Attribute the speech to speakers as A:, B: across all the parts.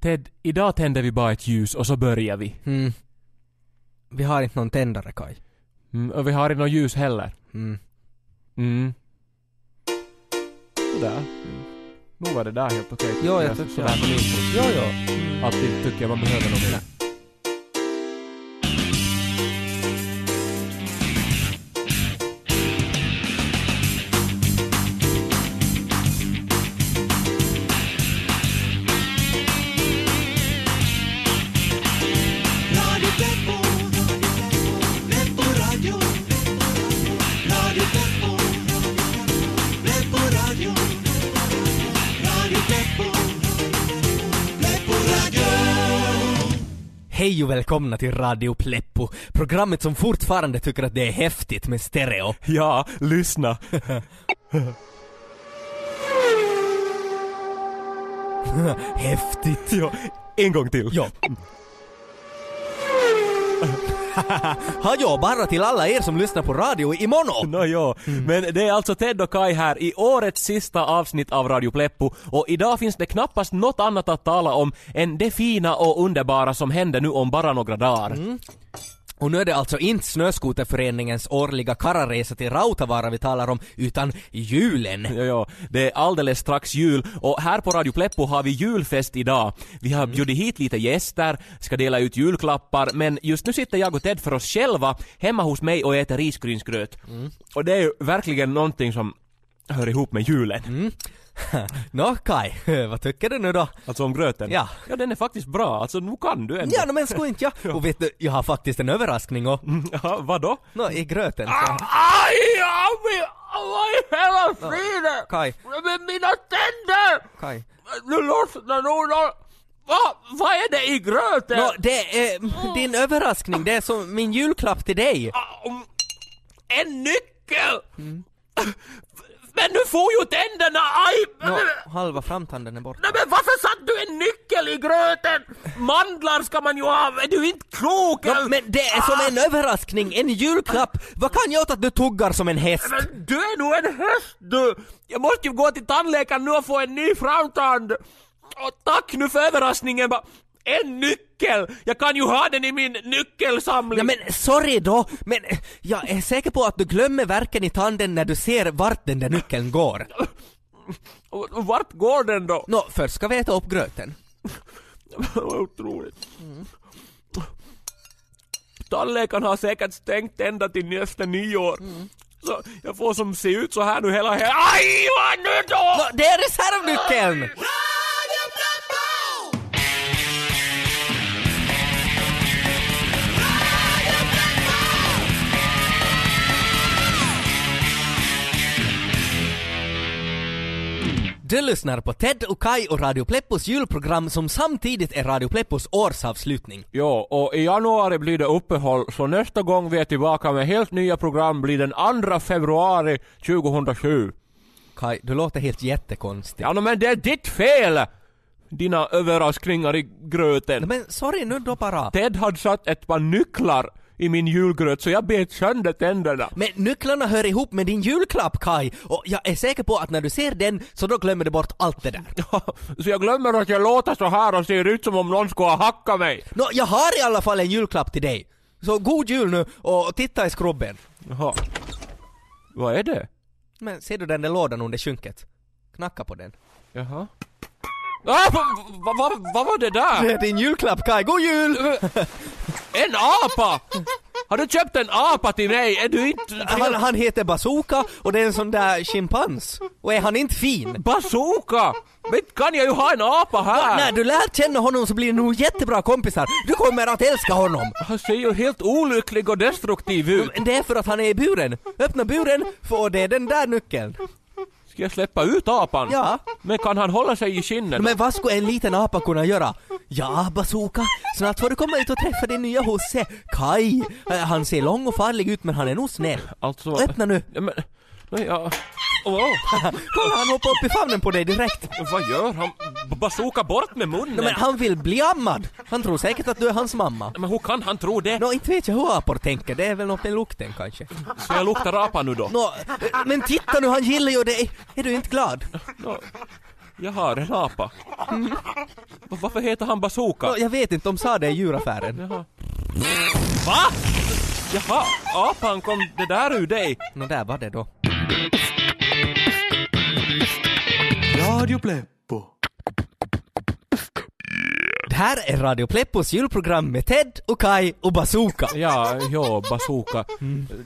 A: Ted, idag tänder vi bara ett ljus och så börjar vi.
B: Mm. Vi har inte någon tändare, Kaj.
A: Mm, och vi har inte något ljus heller.
B: Mm.
A: Mm. Sådär. Mm. Nu var det där helt okej.
B: Jo, jag tycker
A: Sådär på min punkt.
B: Jo, jo.
A: Alltid tycker jag man behöver något mer.
C: Radio Tempo, Tempo Radio, Radio Tempo, Tempo Radio, Radio Tempo, Tempo Radio.
B: Hej och välkomna till Radio Pleppo, programmet som fortfarande tycker att det är häftigt med stereo.
A: Ja, lyssna.
B: häftigt.
A: ja, en gång till.
B: Ja. Hallå, bara till alla er som lyssnar på radio imorgon!
A: Nå ja. men det är alltså Ted och Kai här i årets sista avsnitt av Radio Pleppo och idag finns det knappast något annat att tala om än det fina och underbara som händer nu om bara några dagar.
B: Och nu är det alltså inte Snöskoterföreningens årliga kararesa till Rautavaara vi talar om, utan julen.
A: Ja, ja, det är alldeles strax jul och här på Radio Pleppo har vi julfest idag. Vi
B: Mm.
A: har bjudit hit lite gäster, ska dela ut julklappar, men just nu sitter jag och Ted för oss själva hemma hos mig och äter risgrynsgröt.
B: Mm.
A: Och det är ju verkligen någonting som hör ihop med julen.
B: Mm. Nå Kai, vad tycker du nu då?
A: Alltså om gröten.
B: Ja.
A: ja, den är faktiskt bra. Alltså nu kan du ändå.
B: Ja, nå, men skulle inte jag. Och vet du, jag har faktiskt en överraskning och...
A: Ja, vadå?
B: Nå, i gröten
A: Ah!
B: så...
A: Aj! aj, men, Vad i hela friden?
B: Kai,
A: Med mina tänder!
B: Kai.
A: Nu lossnar nog nån... Va, vad är det i gröten?
B: Nå, det är din överraskning, det är som min julklapp till dig.
A: Ah, Om- En nyckel! Men nu får ju tänderna! Aj!
B: Nå,
A: Men-
B: halva framtanden är borta.
A: Nej men varför satt du en nyckel i gröten? Mandlar ska man ju ha, är du inte klok?
B: Nå, men det är som en överraskning, en julklapp! Vad kan jag åt att du tuggar som en häst?
A: Men du är nog en häst du! Jag måste ju gå till tandläkaren nu och få en ny framtand! Och tack nu för överraskningen bara. En nyckel! Jag kan ju ha den i min nyckelsamling!
B: Ja, men sorry då, men jag är säker på att du glömmer verken i tanden när du ser vart den där nyckeln går.
A: Och- och Vart går den då?
B: Nå, först ska vi äta upp gröten.
A: Vad otroligt. Tandläkaren har säkert stängt ända till nästa nyår. Så jag får som se ut så här nu hela helgen. Aj vad nu
B: Nå,
A: då!
B: det är reservnyckeln!
C: Radio Tempo.
B: Du lyssnar på Ted och Kai och Radio Pleppos julprogram som samtidigt är Radio Pleppos årsavslutning.
A: Ja, och i januari blir det uppehåll så nästa gång vi är tillbaka med helt nya program blir den 2 februari 2007.
B: Kai, du låter helt jättekonstig.
A: Ja no, men det är ditt fel! Dina överraskningar i gröten.
B: Nej, Men sorry nu då bara.
A: Ted hade satt ett par nycklar i min julgröt så jag bet sönder tänderna.
B: Men nycklarna hör ihop med din julklapp Kai och jag är säker på att när du ser den så då glömmer du bort allt det där.
A: Så jag glömmer att jag låter så här och ser ut som om någon skulle ha hackat mig.
B: Nå, jag har i alla fall en julklapp till dig. Så god jul nu och titta i skrubben.
A: Jaha. Vad är det?
B: Men ser du den där lådan under skynket? Knacka på den.
A: Jaha. Ah, vad va, va, vad var det
B: Det
A: där?
B: är din julklapp Kai, god jul!
A: En apa! Har du köpt en apa till mig? Är du inte...
B: Han, han heter Bazooka och det är en sån där chimpans. Och är han inte fin?
A: Bazooka! Men kan jag ju ha en apa
B: När
A: här?
B: du lär känna honom så blir ni nog jättebra kompisar. Du kommer att älska honom.
A: Han ser ju helt olycklig och destruktiv ut.
B: Men Det är för att han är i buren. Öppna buren, för det är den där nyckeln.
A: Ska jag släppa ut apan?
B: Ja.
A: Men kan han hålla sig i kinden?
B: Men vad skulle en liten apa kunna göra? Ja, Bazooka, snart får du komma ut och träffa din nya husse, Kai. Eh, Han ser lång och farlig ut men han är nog snäll.
A: Alltså...
B: Öppna nu!
A: Ja, Men... Nej, ja... Wow.
B: Kolla, han hoppar upp i famnen på dig direkt.
A: Vad gör han? B- Bazooka bort med munnen!
B: Men han vill bli ammad! Han tror säkert att du är hans mamma.
A: Men hur kan han tro det?
B: Nå, inte vet jag hur apor tänker, det är väl något med lukten kanske.
A: Så jag luktar apa nu då?
B: Nå, eh, men titta nu, han gillar ju dig! Är du inte glad?
A: Nå, Jaha, det är en apa. Va- Varför heter han bazooka?
B: Nå, jag vet inte, de sa det i djuraffären.
A: Jaha. Va? Jaha, apan kom det där ur dig?
B: Nå, där var det då.
D: Radio Pleppo.
B: Det här är Radio Pleppos julprogram med Ted och Kai och Bazooka.
A: Ja, jo, bazooka.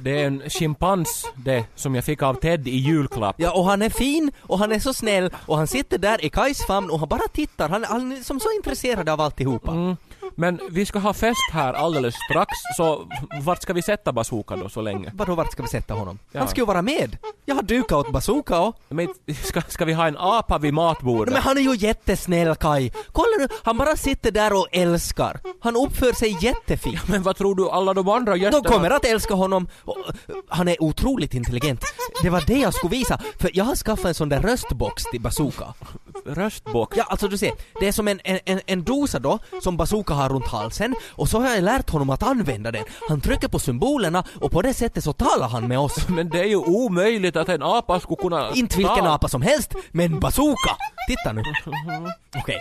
A: Det är en schimpans det som jag fick av Ted i julklapp.
B: Ja, och han är fin och han är så snäll och han sitter där i Kais famn och han bara tittar. Han, han är som så intresserad av alltihopa.
A: Mm. Men vi ska ha fest här alldeles strax, så vart ska vi sätta bazooka då så länge?
B: Vadå, vart ska vi sätta honom?
A: Ja.
B: Han ska ju vara med! Jag har dukat åt Bazooka och...
A: Men ska, ska vi ha en apa vid matbordet?
B: Men han är ju jättesnäll Kai. Kolla nu, han bara sitter där och älskar. Han uppför sig jättefint.
A: Men vad tror du alla de andra gästerna...
B: De kommer att älska honom. Och, eh, Han är otroligt intelligent. Det var det jag skulle visa, för jag har skaffat en sån där röstbox till Bazooka.
A: Röstbox.
B: Ja, alltså du ser, det är som en, en- en, en dosa då, som Bazooka har runt halsen, och så har jag lärt honom att använda den. Han trycker på symbolerna och på det sättet så talar han med oss.
A: Men det är ju omöjligt att en apa skulle kunna...
B: Inte vilken
A: ta-
B: apa som helst, men Bazooka! Titta nu. Okej.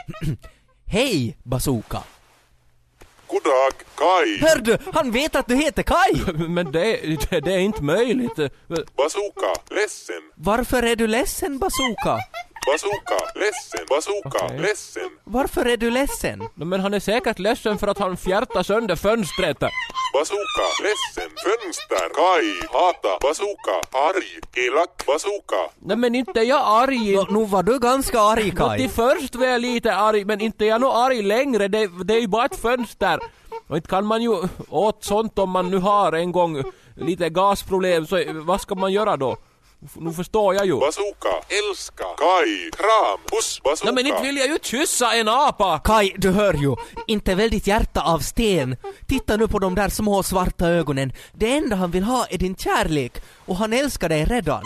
B: Hej, Bazooka!
E: God dag, Kai.
B: Hör du, han vet att du heter Kai!
A: Men det, det, det är inte möjligt.
E: Bazooka, ledsen.
B: Varför är du ledsen, Bazooka?
E: Bazooka, ledsen. Bazooka,
A: Okej.
E: ledsen.
B: Varför är du ledsen?
A: Men han är säkert ledsen för att han fjärtar sönder fönstret.
E: Bazooka, ledsen. Fönster, Kai. Hata, bazooka, arg. Elak, bazooka.
A: Nej men inte är jag arg.
B: Nå, nu var du ganska arg,
A: Nå,
B: Kai.
A: till först var jag lite arg, men inte är jag nog arg längre. Det, det är ju bara ett fönster. Och inte kan man ju åt sånt om man nu har en gång lite gasproblem, så vad ska man göra då? F- Nu förstår jag ju.
E: Bazooka, älska. Kai, kram. Puss, bazooka.
A: Nej men inte vill jag ju kyssa en apa!
B: Kai, du hör ju. Inte väl ditt hjärta av sten. Titta nu på de där små svarta ögonen. Det enda han vill ha är din kärlek. Och han älskar dig redan.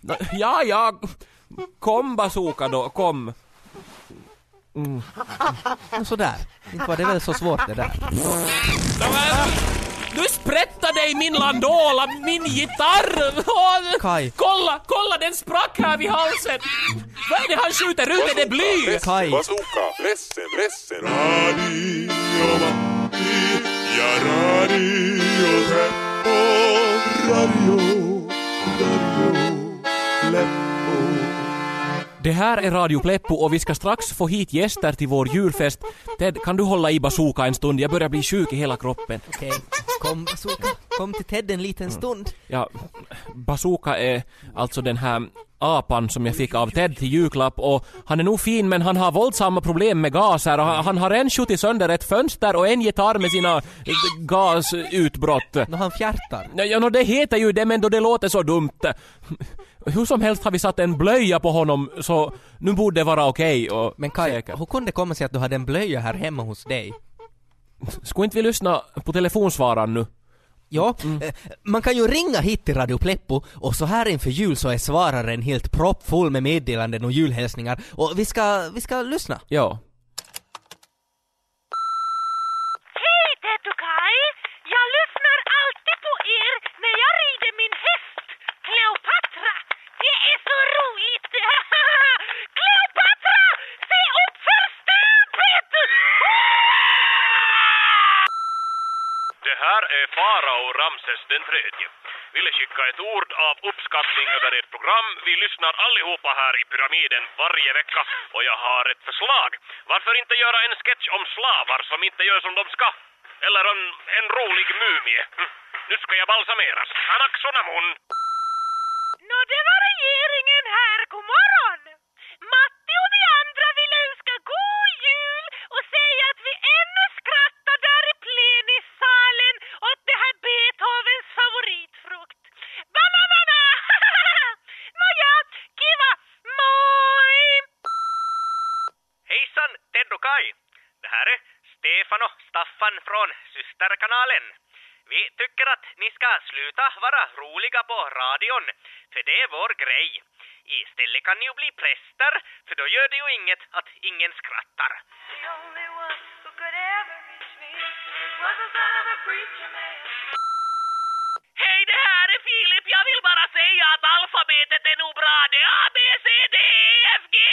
A: Nå, Ja, ja. Kom bazooka då, kom.
B: Och Sådär. Inte var det väl så svårt det där.
A: Nu sprättade i min landola, min gitarr! Åh,
B: Kai.
A: Kolla, kolla den sprack här vid halsen! Vad är det han skjuter ut? Är det bly?
E: Ledsen,
B: Kai.
E: Bazooka, ledsen, ledsen. Radio Matti, ja radio Pleppo. Radio, radio Pleppo.
A: Det här är Radio Pleppo och vi ska strax få hit gäster till vår julfest. Ted, kan du hålla i bazooka en stund? Jag börjar bli sjuk i hela kroppen.
B: Okej, kom Bazooka. Kom till Ted en liten stund.
A: Ja, bazooka är alltså den här apan som jag fick av Ted till julklapp och han är nog fin men han har våldsamma problem med gaser och han han har en skjutit sönder ett fönster och en gitarr med sina eh, gasutbrott.
B: Nå, han fjärtar.
A: Ja, ja, nå, det heter ju det men då det låter så dumt. Hur som helst har vi satt en blöja på honom så nu borde det vara okej och
B: Men Kai,
A: säkert.
B: hur kunde det komma sig att du hade en blöja här hemma hos dig?
A: Skulle inte vi lyssna på telefonsvararen nu?
B: Ja, eh, man kan ju ringa hit till Radio Pleppo och så här inför jul så är svararen helt proppfull med meddelanden och julhälsningar och vi ska, vi ska lyssna.
A: Ja.
F: Hej Ted och Kai! Jag lyssnar alltid på er när jag rider min häst, Kleopatra. Det är så roligt! Kleopatra! Se upp för stöpet!
G: Det här är Farao Ramses den tredje. Ville skicka ett ord av uppskattning över ert program. Vi lyssnar allihopa här i Pyramiden varje vecka och jag har ett förslag. Varför inte göra en sketch om slavar som inte gör som de ska? Eller en, en rolig mumie. Hm. Nu ska jag balsameras. Anaxonamun!
F: Nå, det var regeringen här. God morgon! Matti och vi andra vill önska god jul och säga att vi ännu skrattar där i plenisalen åt det här Beethovens favoritfrukt. Bananana! Nåja, kiva! Moi!
G: Hejsan, Ted och Kai. Det här är Stefan och Staffan från Systerkanalen. Vi tycker att ni ska sluta vara roliga på radion, för det är vår grej. Istället kan ni ju bli präster, för då gör det ju inget att ingen skrattar.
F: The only one who could ever reach me was the son of a preacher man. Hej, det här är Filip. Jag vill bara säga att alfabetet är nog bra. Det är A, B, C, D, E,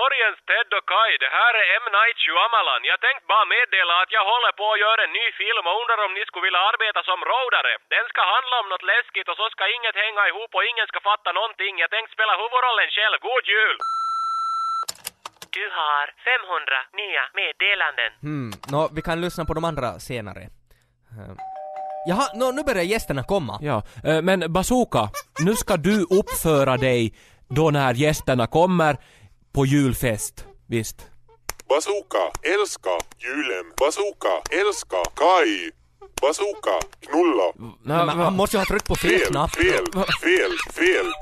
G: Morgens Ted och Kai, det här är M. Night Shyamalan. Jag tänkte bara meddela att jag håller på att göra en ny film och undrar om ni skulle vilja arbeta som roadare. Den ska handla om något läskigt och så ska inget hänga ihop och ingen ska fatta någonting. Jag tänkte spela huvudrollen själv. God jul! Du har 500 nya meddelanden.
B: Hmm, nå, vi kan lyssna på de andra senare. Eh, Jaha, nå, nu börjar gästerna komma.
H: Ja, eh, men Bazooka, nu ska du uppföra dig då när gästerna kommer på julfest. Visst?
E: Bazooka älskar julen. Bazooka älskar Kai. Bazooka knulla.
H: Nå,
B: Men
H: va-
B: han måste ju ha tryckt på fel
E: Fel,
B: knapp.
E: fel, fel, fel.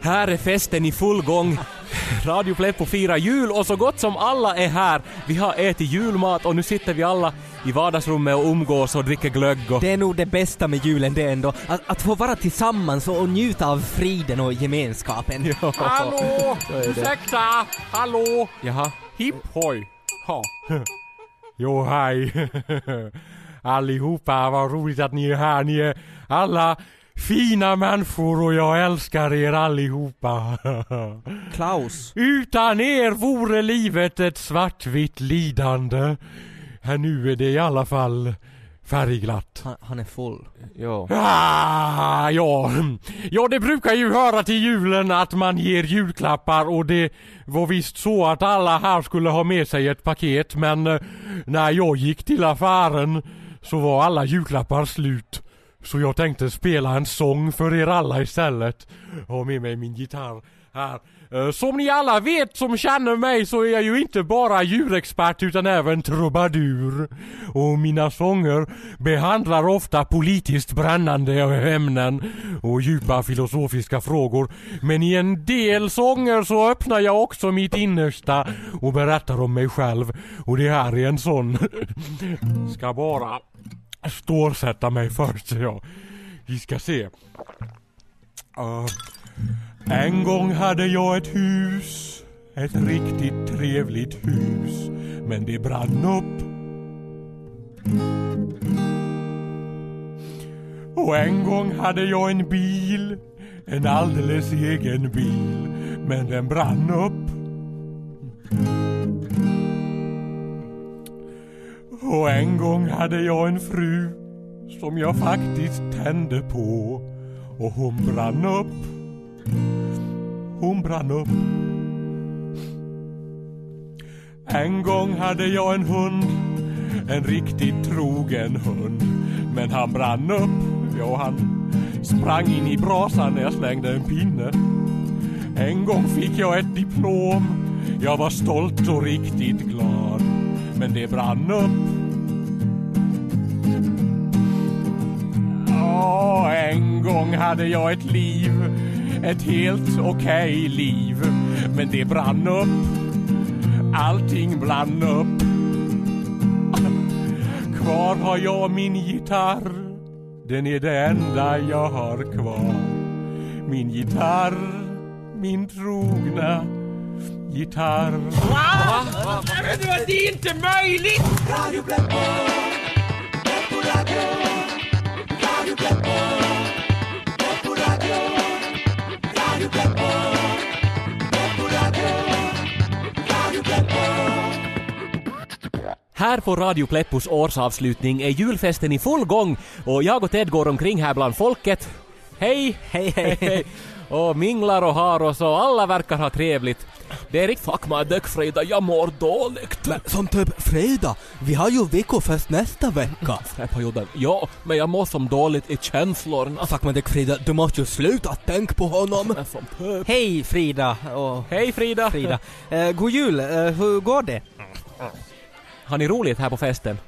H: Här är festen i full gång. Radio Pleppo firar jul och så gott som alla är här. Vi har ätit julmat och nu sitter vi alla i vardagsrummet och umgås och dricker glögg och...
B: Det är nog det bästa med julen det ändå, att, att få vara tillsammans och, och njuta av friden och gemenskapen.
H: Hallå! Ursäkta! Hallå! Jaha. Hipp hoj! Ha.
A: Jo, hej! Allihopa, vad roligt att ni är här. Ni är alla fina människor och jag älskar er allihopa.
B: Klaus.
A: Utan er vore livet ett svartvitt lidande. Här nu är det i alla fall färgglatt.
B: Han, han är full.
H: Jo.
A: Ah, ja. ja, det brukar ju höra till julen att man ger julklappar och det var visst så att alla här skulle ha med sig ett paket men eh, när jag gick till affären så var alla julklappar slut. Så jag tänkte spela en sång för er alla istället. Jag har med mig min gitarr här. Eh, Som ni alla vet som känner mig så är jag ju inte bara djurexpert utan även trubadur. Och mina sånger behandlar ofta politiskt brännande ämnen och djupa filosofiska frågor. Men i en del sånger så öppnar jag också mitt innersta och berättar om mig själv. Och det här är en sån. Ska bara stålsätta mig först. Ja. Vi ska se. Eh, en gång hade jag ett hus, ett riktigt trevligt hus, men det brann upp. Och en gång hade jag en bil, en alldeles egen bil, men den brann upp. Och en gång hade jag en fru som jag faktiskt tände på och hon brann upp. Hon brann upp. En gång hade jag en hund, en riktigt trogen hund. Men han brann upp, ja han sprang in i brasan när jag slängde en pinne. En gång fick jag ett diplom, jag var stolt och riktigt glad. Men det brann upp. Ja, en gång hade jag ett liv, ett helt okej liv. Men det brann upp, allting brann upp. Kvar har jag min gitarr, den är det enda jag har kvar. Min gitarr, min trogna gitarr.
I: Radio Pleppo, Pleppo Radio. Radio Pleppo, Pleppo Radio. Radio Pleppo, Pleppo Radio. Radio Pleppo.
H: Här på Radio Pleppos årsavslutning är julfesten i full gång och jag och Ted går omkring här bland folket. Hej!
B: Hej, hej.
H: Och minglar och har oss och alla verkar ha trevligt. Det är riktigt... Fuck my dick Frida, jag mår dåligt.
B: Men som typ fredag, vi har ju veckofest nästa vecka.
H: Ja, men jag mår som dåligt i känslorna.
B: Fuck med dig Frida, du måste ju sluta tänka på honom.
H: Men som pöp.
B: Hej Frida och
H: Hej Frida!
B: Frida. Eh, god jul, eh, hur går det?
H: Har ni roligt här på festen?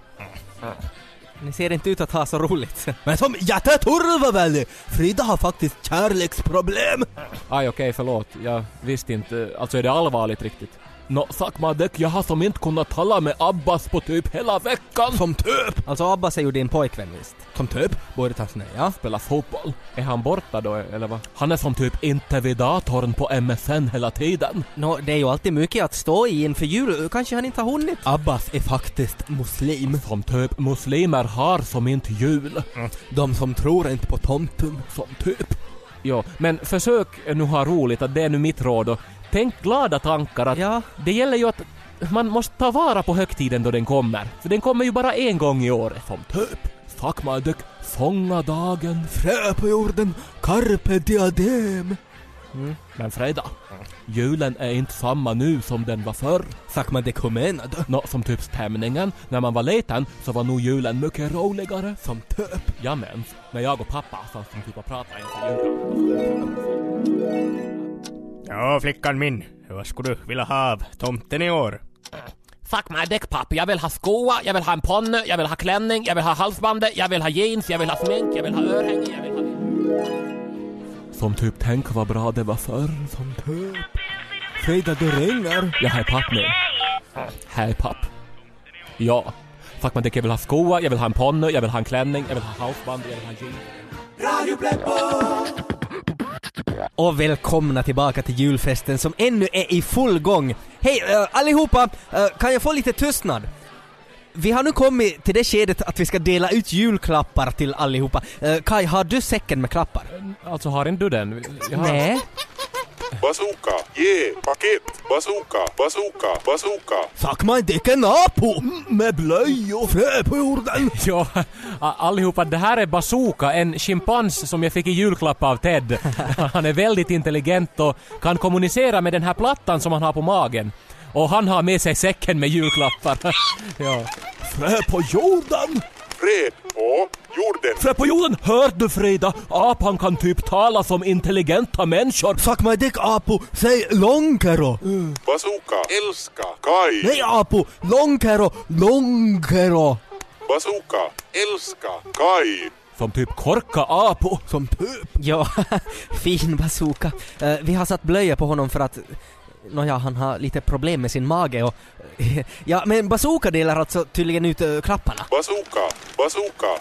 B: Ni ser inte ut att ha så roligt. Men som jätteturva väl! Frida har faktiskt kärleksproblem.
H: Aj okej, förlåt. Jag visste inte. Alltså är det allvarligt riktigt?
A: Nå, suck my dick, jag har som inte kunnat tala med Abbas på typ hela veckan.
B: Som töp! Alltså Abbas är ju din pojkvän visst? Som töp? Borde ta snöja.
A: Spela fotboll. Är han borta då, eller vad? Han är som typ inte vid datorn på MSN hela tiden.
B: Nå, det är ju alltid mycket att stå i inför jul. Kanske han inte har hunnit? Abbas är faktiskt muslim.
A: Som typ muslimer har som inte jul.
B: De som tror inte på tomten.
A: Som typ. Ja, men försök nu ha roligt, att det är nu mitt råd och tänk glada tankar att
B: Ja.
A: det gäller ju att man måste ta vara på högtiden då den kommer. För den kommer ju bara en gång i år. Som typ. Fuck my dick, fånga dagen.
B: Frö på jorden, carpe diadem.
A: Men Freda, julen är inte samma nu som den var förr.
B: Sagt man det kumenad.
A: Nå, som typ stämningen. När man var liten så var nog julen mycket roligare.
B: Som töp.
A: Jag minns när jag och pappa satt och typ och pratade inför julen.
J: Ja, flickan min. Vad skulle du vilja ha av tomten i år?
A: Fuck my dick papp, jag vill ha skoa, jag vill ha en ponny, jag vill ha klänning, jag vill ha halsbandet, jag vill ha jeans, jag vill ha smink, jag vill ha örhänge, jag vill ha... Som typ tänk vad bra det var förr.
B: Som töp. Frida, det regnar.
A: Jag är papp nu. Hej papp. Ja. Fuck my dick, jag vill ha skoa, jag vill ha en ponny, jag vill ha en klänning, jag vill ha halsband, jag vill ha jeans.
D: Radio Pleppo!
B: Och välkomna tillbaka till julfesten som ännu är i full gång. Hej eh, allihopa! Eh, kan jag få lite tystnad? Vi har nu kommit till det skedet att vi ska dela ut julklappar till allihopa. Uh, Kai, har du säcken med klappar?
A: Alltså har inte du den? Jag har-
B: Nej.
E: Bazooka, yeah, paket, bazooka, bazooka, bazooka.
B: Suck my dick and apo! Mm, Med blöjor! Frö på jorden!
A: Ja, a- allihopa, det här är Bazooka, en schimpans som jag fick i julklapp av Ted. Han är väldigt intelligent och kan kommunicera med den här plattan som han har på magen. Och han har med sig säcken med julklappar. Ja.
D: Frö på jorden!
E: Fred på jorden.
A: Frö på jorden, hör du Frida? Apan kan typ tala som intelligenta människor.
B: Suck my dick apo! Säg långkero!
E: Bazooka, älska, Kai.
B: Nej apo! Långkero! Långkero!
E: Bazooka, älska, Kai.
A: Som typ korka apo.
B: Som typ. Ja, fin bazooka. Eh, vi har satt blöja på honom för att Nåja, han har lite problem med sin mage och... ja, men bazooka delar alltså tydligen ut eh, klapparna.
E: Bazooka, bazooka.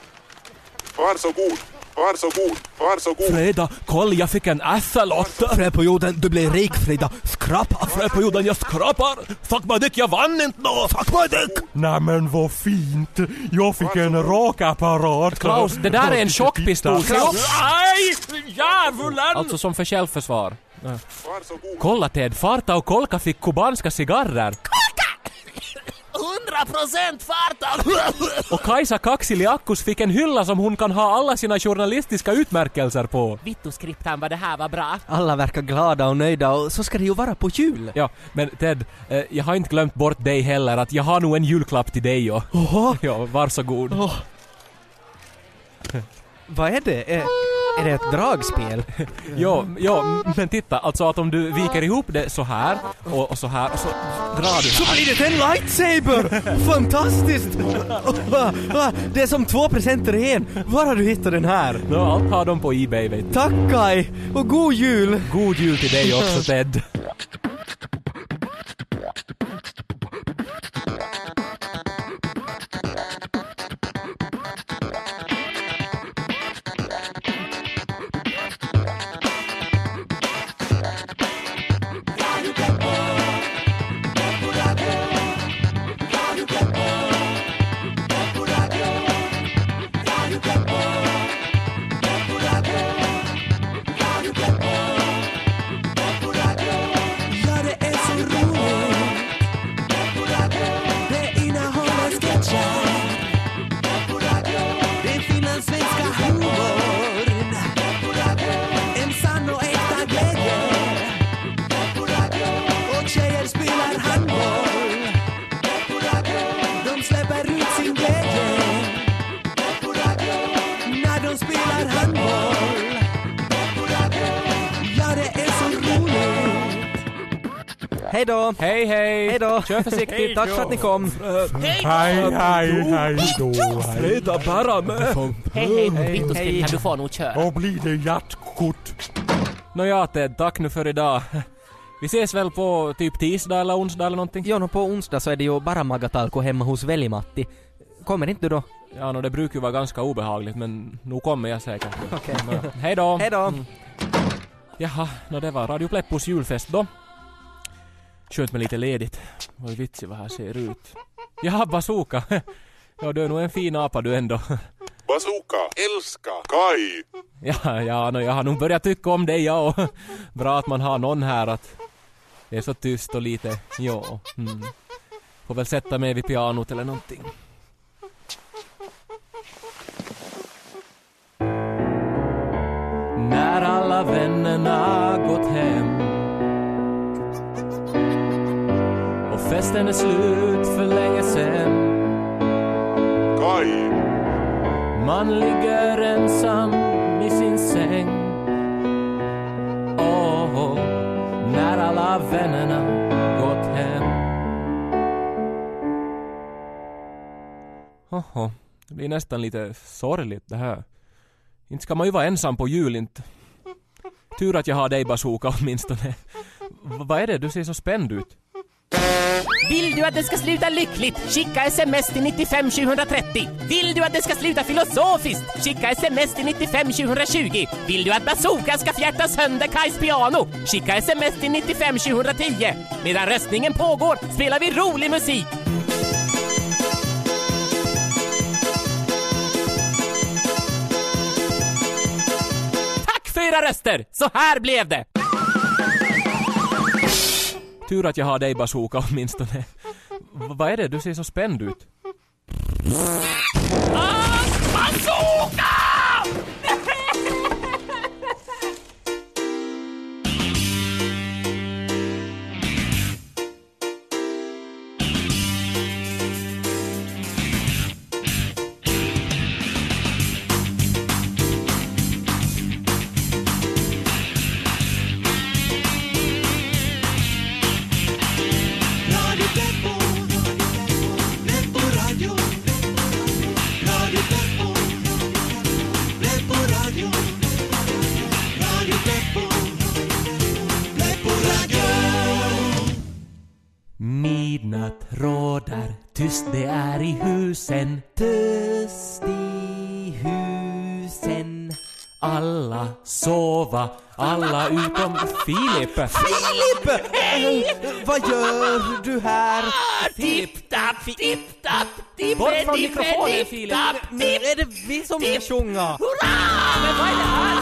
E: Varsågod, varsågod, varsågod.
A: Freda, kolla jag fick en axelott.
B: Frö på jorden, du blir rik Frida! Skrapa!
A: Frö på jorden, jag skrapar. Fuck my dick, jag vann inte nå. Fuck my dick!
K: Nej men vad fint! Jag fick en rakapparat!
A: Klaus, det där är en tjockpistol.
B: Klaus!
K: Aj! Djävulen!
A: Alltså som för självförsvar.
E: Varsågod.
A: Kolla Ted, Farta och Kolka fick kubanska cigarrer. Kolka! 100% Farta! och Kajsa Kaksiliakkus fick en hylla som hon kan ha alla sina journalistiska utmärkelser på.
B: Vittuskriptan vad det här var bra. Alla verkar glada och nöjda och så ska det ju vara på jul.
A: Ja, men Ted, eh, jag har inte glömt bort dig heller att jag har nog en julklapp till dig och...
B: Oha.
A: Ja, varsågod.
B: Åh. Vad är det? Är, är det ett dragspel?
A: Ja, ja, men titta, alltså att om du viker ihop det så här och, och så här och så drar du
B: Så blir det en lightsaber! Fantastiskt! Det är som två presenter i en. Var har du hittat den här?
A: Nå, allt har de på Ebay vet du.
B: Tack Kai! Och god jul!
A: God jul till dig också Ted.
D: Ja, det är så roligt. Det innehåller sketcher. Det är finlandssvenska humorn. En sann och äkta glädje. Och tjejer spelar handboll. De släpper ut sin glädje. När de spelar handboll. Ja, det är så roligt.
B: Hej då!
A: Hej hej!
B: Hej då!
A: Kör försiktigt!
B: Tack för att ni kom!
K: Hej, hej, hej då! Hej.
A: Freda bära med!
B: Hej hej! Vittuskriptan, du får nog köra.
K: Och blir det hjärtkort?
A: Nåja Ted, tack nu för idag. Vi ses väl på typ tisdag eller onsdag eller någonting?
B: Jo, nå på onsdag så är det ju bara Magatalko hemma hos Välimatti. Kommer inte du då?
A: Ja, nå det brukar ju vara ganska obehagligt men nu kommer jag säkert. Okej. Hej då! Mm.
B: Hej då!
A: Jaha, nå det var Radio Pleppos julfest då. Skönt med lite ledigt. Vad vitsigt vad här ser ut. Jaha, bazooka! Ja, du är nog en fin apa du ändå.
E: Bazooka älska Kai.
A: Ja, ja, nå, jag har nog börjat tycka om dig jag och Bra att man har någon här att... Det är så tyst och lite... Ja. Mm. Får väl sätta mig vid pianot eller någonting. När alla vännerna gått hem och festen är slut för länge sen
E: Kai.
A: man ligger ensam i sin säng Åh, oh, när alla vännerna gått hem Jaha, det blir nästan lite sorgligt det här. Inte ska man ju vara ensam på jul inte. Tur att jag har dig bazooka åtminstone. V- vad är det? Du ser så spänd ut.
L: Vill du att det ska sluta lyckligt? Skicka sms till 95 730. Vill du att det ska sluta filosofiskt? Skicka sms till 95 720. Vill du att bazooka ska fjärta sönder Kajs piano? Skicka sms till 95 710. Medan röstningen pågår spelar vi rolig musik.
A: Tack för era röster! Så här blev det! Tur att jag har dig bazooka åtminstone. V- vad är det? Du ser så spänd ut.
C: Bazooka! Radio Peppo, Peppo Radio, Radio Peppo, Peppo Radio, Radio Peppo, Peppo Radio.
L: Midnatt rådar, tyst det är i husen. Tyst i husen.
A: Alla sova, alla utom Filip.
B: Filip! Eh, Vad gör du här?
L: Tipp-tapp, tipp-tapp, tipp
B: Bort från mikrofonen Filip! Nu är det vi som ska sjunga!
A: Men vad är det här?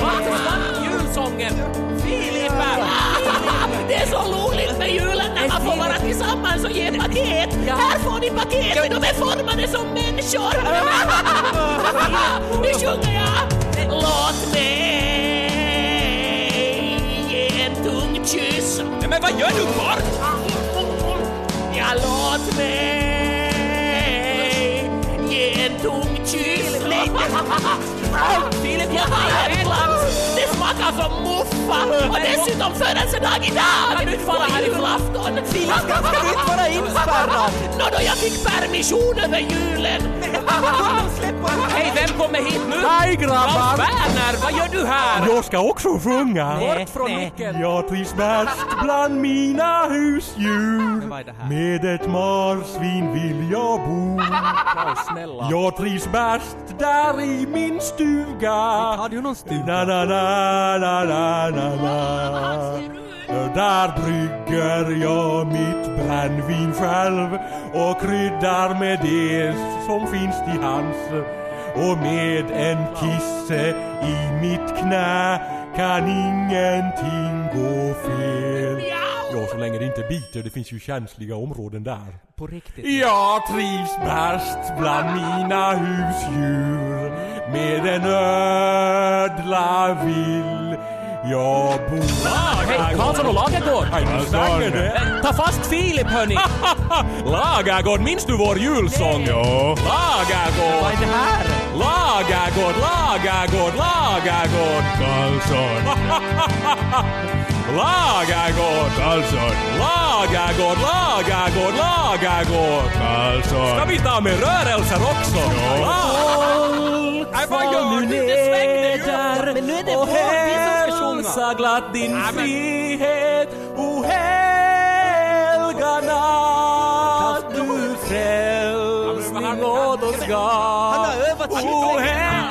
A: Vart försvann julsången? Filip!
L: Det är så roligt med julen när man får vara tillsammans och ge paket. Här får ni paket, de är formade som människor. Nu sjunger jag. Låt mig ge en tung kyss.
C: Men vad gör du bort?
L: Ja, låt mig ge en tung kyss. Filip, jag har en plats. Det smakar som muffa och dessutom födelsedag idag. Kan du inte fara härifrån? Filip,
B: Ska ska du inte vara inspärrad?
L: Nådå, jag fick permission över julen.
A: Hej, vem kommer hit nu?
K: Hej grabbar!
A: Werner, vad gör du här?
K: Jag ska också sjunga!
A: Bort från micken!
K: Jag trivs bäst bland mina husdjur
B: vad är det här?
K: Med ett marsvin vill jag bo
A: Ja, snälla.
K: Jag trivs bäst där i min stuga
B: Har du någon stuga?
K: Na na na na na na na Där brygger jag mitt brännvin själv och kryddar med det som finns till hands och med en kisse i mitt knä kan ingenting gå fel Ja, så länge det inte biter, det finns ju känsliga områden där.
B: På riktigt?
K: Jag trivs bäst bland mina husdjur Med en ödla vill jag bo
A: Hej, Karlsson och Lagergård!
K: Hej, vad säger du?
A: Ta fast Filip hörni!
K: Lagergård, minns du vår julsång? Jo.
B: Vad är
K: Lagergård,
B: det här?
K: Lagergård, Lagergård, Lagergård. Karlsson. Lagergård. Karlsson. Lagergård, Lagergård, Lagergård. Karlsson. Ska vi ta med rörelser också? Jo.
A: Ah.
K: Nej, vad gör du? Du svängde ju.
B: Men nu är det
A: och
B: vår, vi som ska sjunga.
A: hälsa glatt din frihet att du frälsning åt oss gav.
M: Han har övat
A: O
M: sig.
A: hel-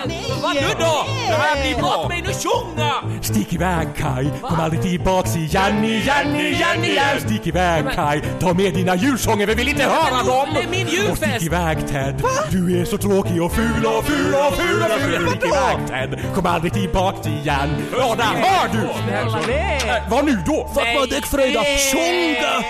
A: Vad nu då? Det här blir bra. Låt mig nu sjunga!
K: Stick iväg Kai, kom aldrig tillbaks igen, igen, igen, igen! Stick iväg Kai, ta med dina julsånger, vi vill inte höra
A: Men
K: dem!
A: det är min julfest.
K: Och stick iväg Ted, du är så tråkig och ful och ful och ful och ful! Stick iväg Ted, kom aldrig tillbaks igen! Ja, där hör du! Äh, Vad nu då?
A: Vad var det Fröjda? Sjunga!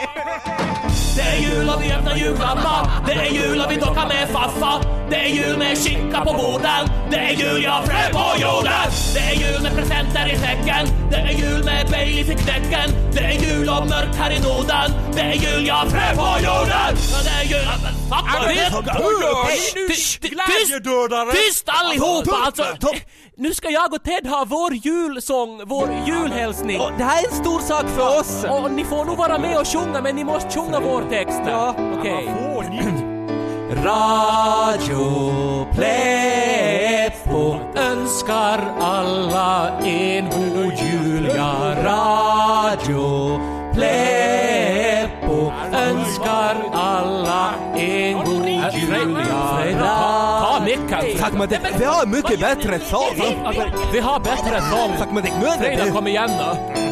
A: Det är jul och vi öppnar julklappar. Det är jul och vi dockar med faffa. Det är jul med skinka på borden. Det är jul, jag har frö på jorden. Det är jul med presenter i säcken. Det är jul med Baileys i knäcken. Det är jul och mörkt här i Norden. Det är jul, jag har frö på jorden. Ja, Det är jul... Vad var det?
N: Tyst!
K: Glädjedödare!
N: Tyst allihopa! Alltså, nu ska jag och Ted ha vår julsång, vår julhälsning.
B: det här är en stor sak för oss!
N: Och ni får nog vara med och sjunga, men ni måste sjunga vår text. Ja. Okej.
A: Radio Pleppo önskar alla en god jul. Ja, Radio Pleppo önskar alla en god jul. Ja,
N: Ta mycket.
B: Tack men det, vi har mycket bättre sång!
N: Vi har bättre sång.
B: Tack men det, nu är det
N: Frida, kom igen då.